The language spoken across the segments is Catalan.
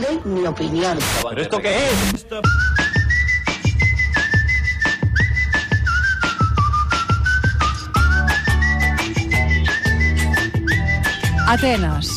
doy mi opinión. ¿Pero esto qué es? Atenes.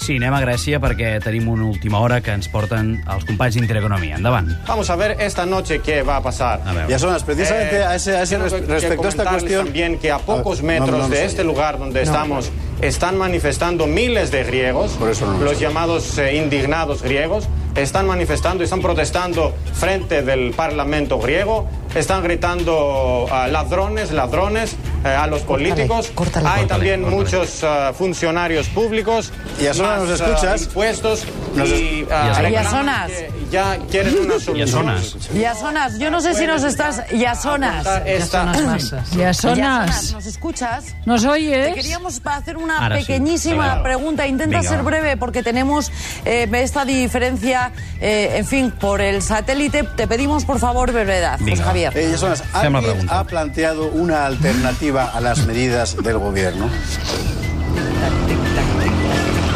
Sí, anem a Grècia perquè tenim una última hora que ens porten els companys d'Intereconomia. Endavant. Vamos a ver esta noche qué va a pasar. A ver. Y Y Asonas, precisamente Eh, a ese, a ese quiero res- que- que respecto a esta comentarles cuestión. También que a pocos ver, no, metros no, no de sé. este lugar donde estamos están manifestando miles de griegos. Por eso no lo los sé. llamados eh, indignados griegos están manifestando y están protestando frente del Parlamento griego. Están gritando ah, ladrones, ladrones eh, a los políticos. córtale. Hay Córtale, también córtale. muchos ah, funcionarios públicos. Y Asonas, más, ¿nos ah, escuchas? impuestos Nos es- y, ah, Y Asonas. reclaman Y Asonas. que Ya quieren una solución. Asonas. Yasonas, yo no sé si nos estás. Yasonas. Esta- Llaçones. ¿Nos escuchas? ¿Nos Te oyes? queríamos hacer una Ahora sí, pequeñísima venga. pregunta. Intenta Venga, ser va. breve porque tenemos eh, esta diferencia, eh, en fin, por el satélite. Te pedimos, por favor, brevedad, José Venga. Javier. Eh, Asonas, Hacemos la ¿alguien pregunta. ha planteado una alternativa a las medidas del gobierno?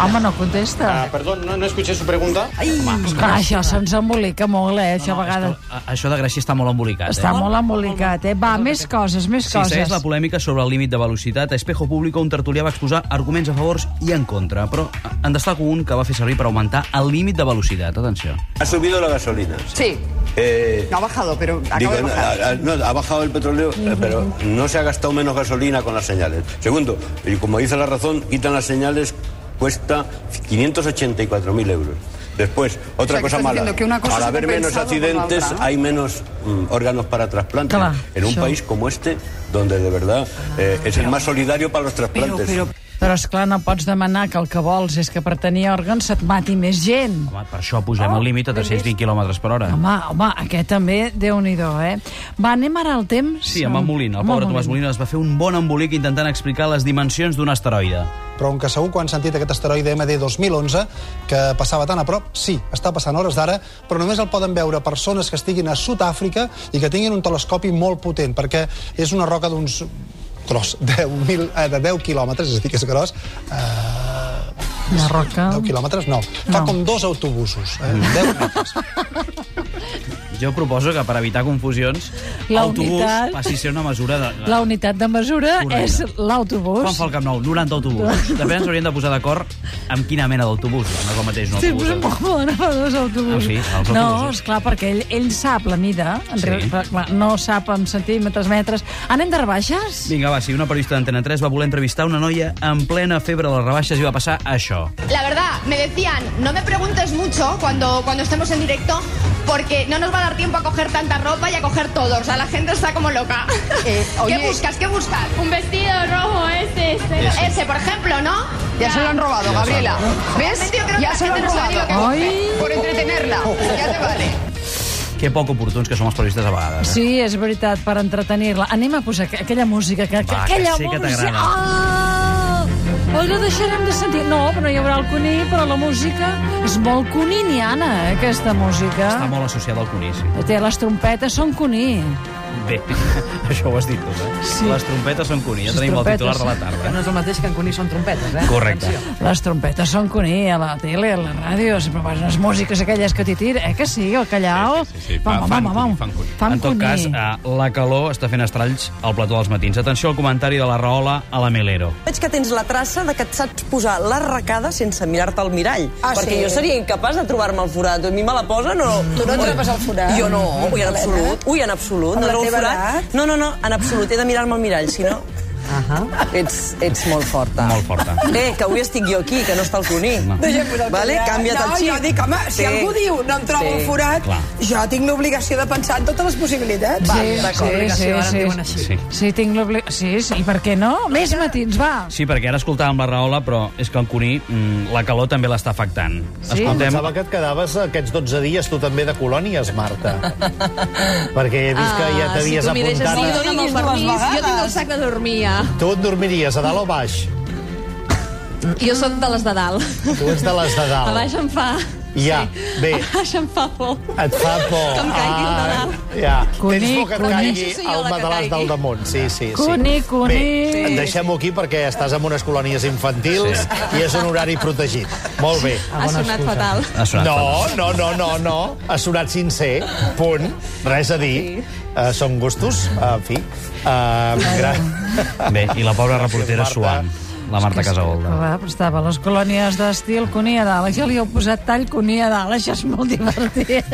Home, no contesta. Ah, perdón, no, no escuché su pregunta. Ah, això se'ns embolica molt, eh? Això a vegades... A- Això de Grècia està molt embolicat. Està eh? molt embolicat, eh? Va, més coses, més Si segueix coses. la polèmica sobre el límit de velocitat, a Espejo Público un tertulià va exposar arguments a favors i en contra, però en destaco un que va fer servir per augmentar el límit de velocitat. Atenció. Ha subido la gasolina. Sí, Eh, no ha bajado, pero acaba digo, de no, bajar. ha- ha- no, ha bajado el petróleo, eh, pero no se ha gastado menos gasolina con las señales. Segundo, y como dice la razón, quitan las señales, cuesta 584.000 euros. Después, otra O sea, que cosa estás mala. diciendo que una cosa Al se ha haber menos compensado por la accidentes, otra, ¿no? hay menos mm, órganos para trasplantes. Claro, en un eso. país como este, donde de verdad eh, es el más solidario para los trasplantes. Però, és clar no pots demanar que el que vols és que per tenir òrgans se't mati més gent. Home, per això posem el límit a 320 km per hora. Oh, Home, home, aquest també, déu nhi eh? Va, anem ara al temps. Sí, amb en Molina. El pobre Tomàs Molina es va fer un bon embolic intentant explicar les dimensions d'un asteroide. però on que segur que han sentit aquest asteroide MD 2011 que passava tan a prop, sí, està passant a hores d'ara, però només el poden veure persones que estiguin a Sud-àfrica i que tinguin un telescopi molt potent, perquè és una roca d'uns gros, 10.000, eh, de 10 quilòmetres, és a dir, que és gros, Una roca. Ah. 10 quilòmetres, no. Fa No. com dos autobusos, eh, 10 metres. Jo proposo que per evitar confusions, La l'autobús unitat- passi a ser una mesura de... La unitat de mesura Correcte. és l'autobús. Quan fa el Camp Nou? 90 autobusos. També ens hauríem de posar d'acord amb quina mena d'autobús. No és el mateix un Sí, però és autobús. molt bona per dos autobusos. Ah, sí? Els no, autobusos. esclar, perquè ell, ell sap la mida, en Sí. real- però, clar, no sap en centímetres, metres. Anem de rebaixes? Vinga, va, si una periodista d'Antena 3 va voler entrevistar una noia en plena febre de les rebaixes i va passar això. La verdad, me decían, no me preguntes mucho cuando, cuando estemos en directo, porque no nos va a dar tiempo a coger tanta ropa y a coger todo. O sea, la gente está como loca. Eh, oye- ¿Qué buscas? ¿Qué buscas? Un vestido rojo ese, ese. Ese, por ejemplo, ¿no? Ya se lo han robado, Gabriela. ¿Ves? Yo creo Ya que se la lo gente han no sabe ni lo que robado. busca, Ay. por entretenerla. Ya te vale. Que poc oportuns que som els periodistes a vegades. eh? Sí, és veritat, per entretenir-la. Anem a posar aqu- aquella música. Que, que, Va, que aquella sé que música. t'agrada. Ah! Oi, la deixarem de sentir. No, però no hi haurà el cuní, però la música és molt coniniana, eh, aquesta música. Està molt associada al conici. Té les trompetes, són cuní. Bé, això ho has dit tu, eh? Sí. Les trompetes són cuní, ja Les tenim el trompetes. titular de la tarda. eh? es lo mateix que en Cuní són trompetes, eh? Correcte. Les trompetes són cuní, a la tele, a la ràdio, sempre posen les músiques aquelles que t'hi tira, eh que sí, el callau? Sí, sí, sí, sí. Fa- fan cuní, fan cuní. Fan en tot cuní. cas, eh, la calor està fent estralls al plató dels matins. Atenció al comentari de la Rahola a la Melero. Veig que tens la traça de que et saps posar la l'arracada sense mirar-te al mirall. Ah, perquè sí? jo seria incapaç de trobar-me el forat. A mi me la posen o... Tu no et trobes el forat? Jo no, ui, en absolut. Ui, en absolut. no trobo el forat. No, no, no, en absolut. He de mirar-me al mirall, si no... Uh -huh. ets, ets molt forta. Molt forta. Bé, que avui estic jo aquí, que no està el Cuní. No. Vale? Canvia't el xip. Sí. no em trobo Sí. forat, Clar. jo tinc l'obligació de pensar en totes les possibilitats. Sí, sí, sí, sí. Sí. Sí, tinc l'obli- sí, sí, i per què no? Més matins, va. Sí, perquè ara escoltàvem la Rahola, però és que el cuní, mm, la calor també l'està afectant. Sí? Escoltem... Pensava que et quedaves aquests 12 dies tu també de colònies, Marta. Perquè he Ah, vist que ja t'havies apuntat... Ah, Si A... dóna'm el permís, jo tinc el sac de dormir, ja. Tu et dormiries a dalt o baix? Jo sóc de les de dalt. Tu ets de les de A dalt. baix em fa... Ja, bé, Això em fa por. et fa por. Que em caigui el Ah, malalt. Ja, Conic, tens por que et conic. caigui Jo soy jo el la que matalàs caigui. del damunt. Sí, sí, sí. Conic, conic. Bé, Sí. deixem-ho aquí perquè estàs en unes colònies infantils Sí. i és un horari protegit. Molt bé. Ha sonat fatal. Ha sonat no, no, no, no, no. Ha sonat sincer, punt. Res a dir. Uh, són gustos, uh, en fi. Uh, gra... Bé, i la pobra reportera suant, la Marta Casaolda. Va, però estava a les colònies d'estil Cuní a dalt. Jo li heu posat tall Cuní a dalt. Això és molt divertit.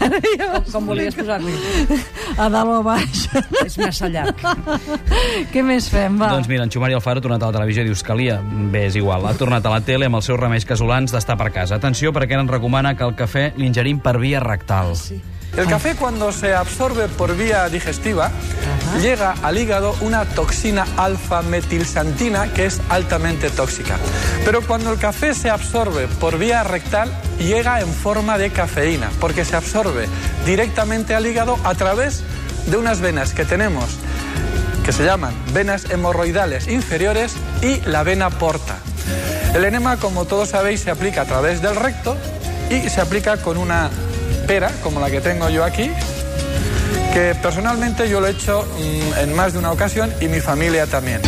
Ara ja com, com volies posar-li? A dalt o a baix. És massa llarg. Què més fem, va? Doncs mira, en Xumari Alfaro ha tornat a la televisió i dius calia. Bé, és igual. Ha tornat a la tele amb els seus remeis casolans d'estar per casa. Atenció, perquè ara ens recomana que el cafè l'ingerim per via rectal. Sí. El café cuando se absorbe por vía digestiva llega al hígado una toxina alfa-metilsantina que es altamente tóxica. Pero cuando el café se absorbe por vía rectal llega en forma de cafeína porque se absorbe directamente al hígado a través de unas venas que tenemos que se llaman venas hemorroidales inferiores y la vena porta. El enema, como todos sabéis, se aplica a través del recto y se aplica con una pera, como la que tengo yo aquí, que personalmente yo lo he hecho mm, en más de una ocasión y mi familia también.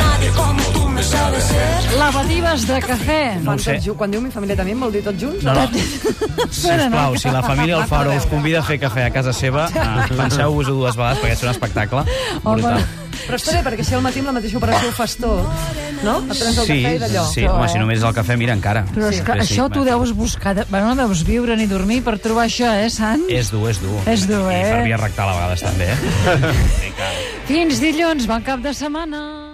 Lavatives de cafè. No ho sé. Quan diu mi família també, vol dir tots junts? No, no. Sisplau, si la família Alfaro us convida a fer cafè a casa seva, eh, penseu-vos-ho dues vegades, perquè és un espectacle brutal. Però espera, perquè si al matí amb la mateixa operació fas tot, no? Et prens el Sí, cafè i d'allò. sí, home, si només és el cafè, mira, encara. eh. Però és que Sí, sí, això va. tu deus buscar... De... Bueno, no deus viure ni dormir per trobar això, eh, Sant? És dur, és dur. És dur, I eh? per via rectal a vegades, també. eh? Fins dilluns, bon cap de setmana.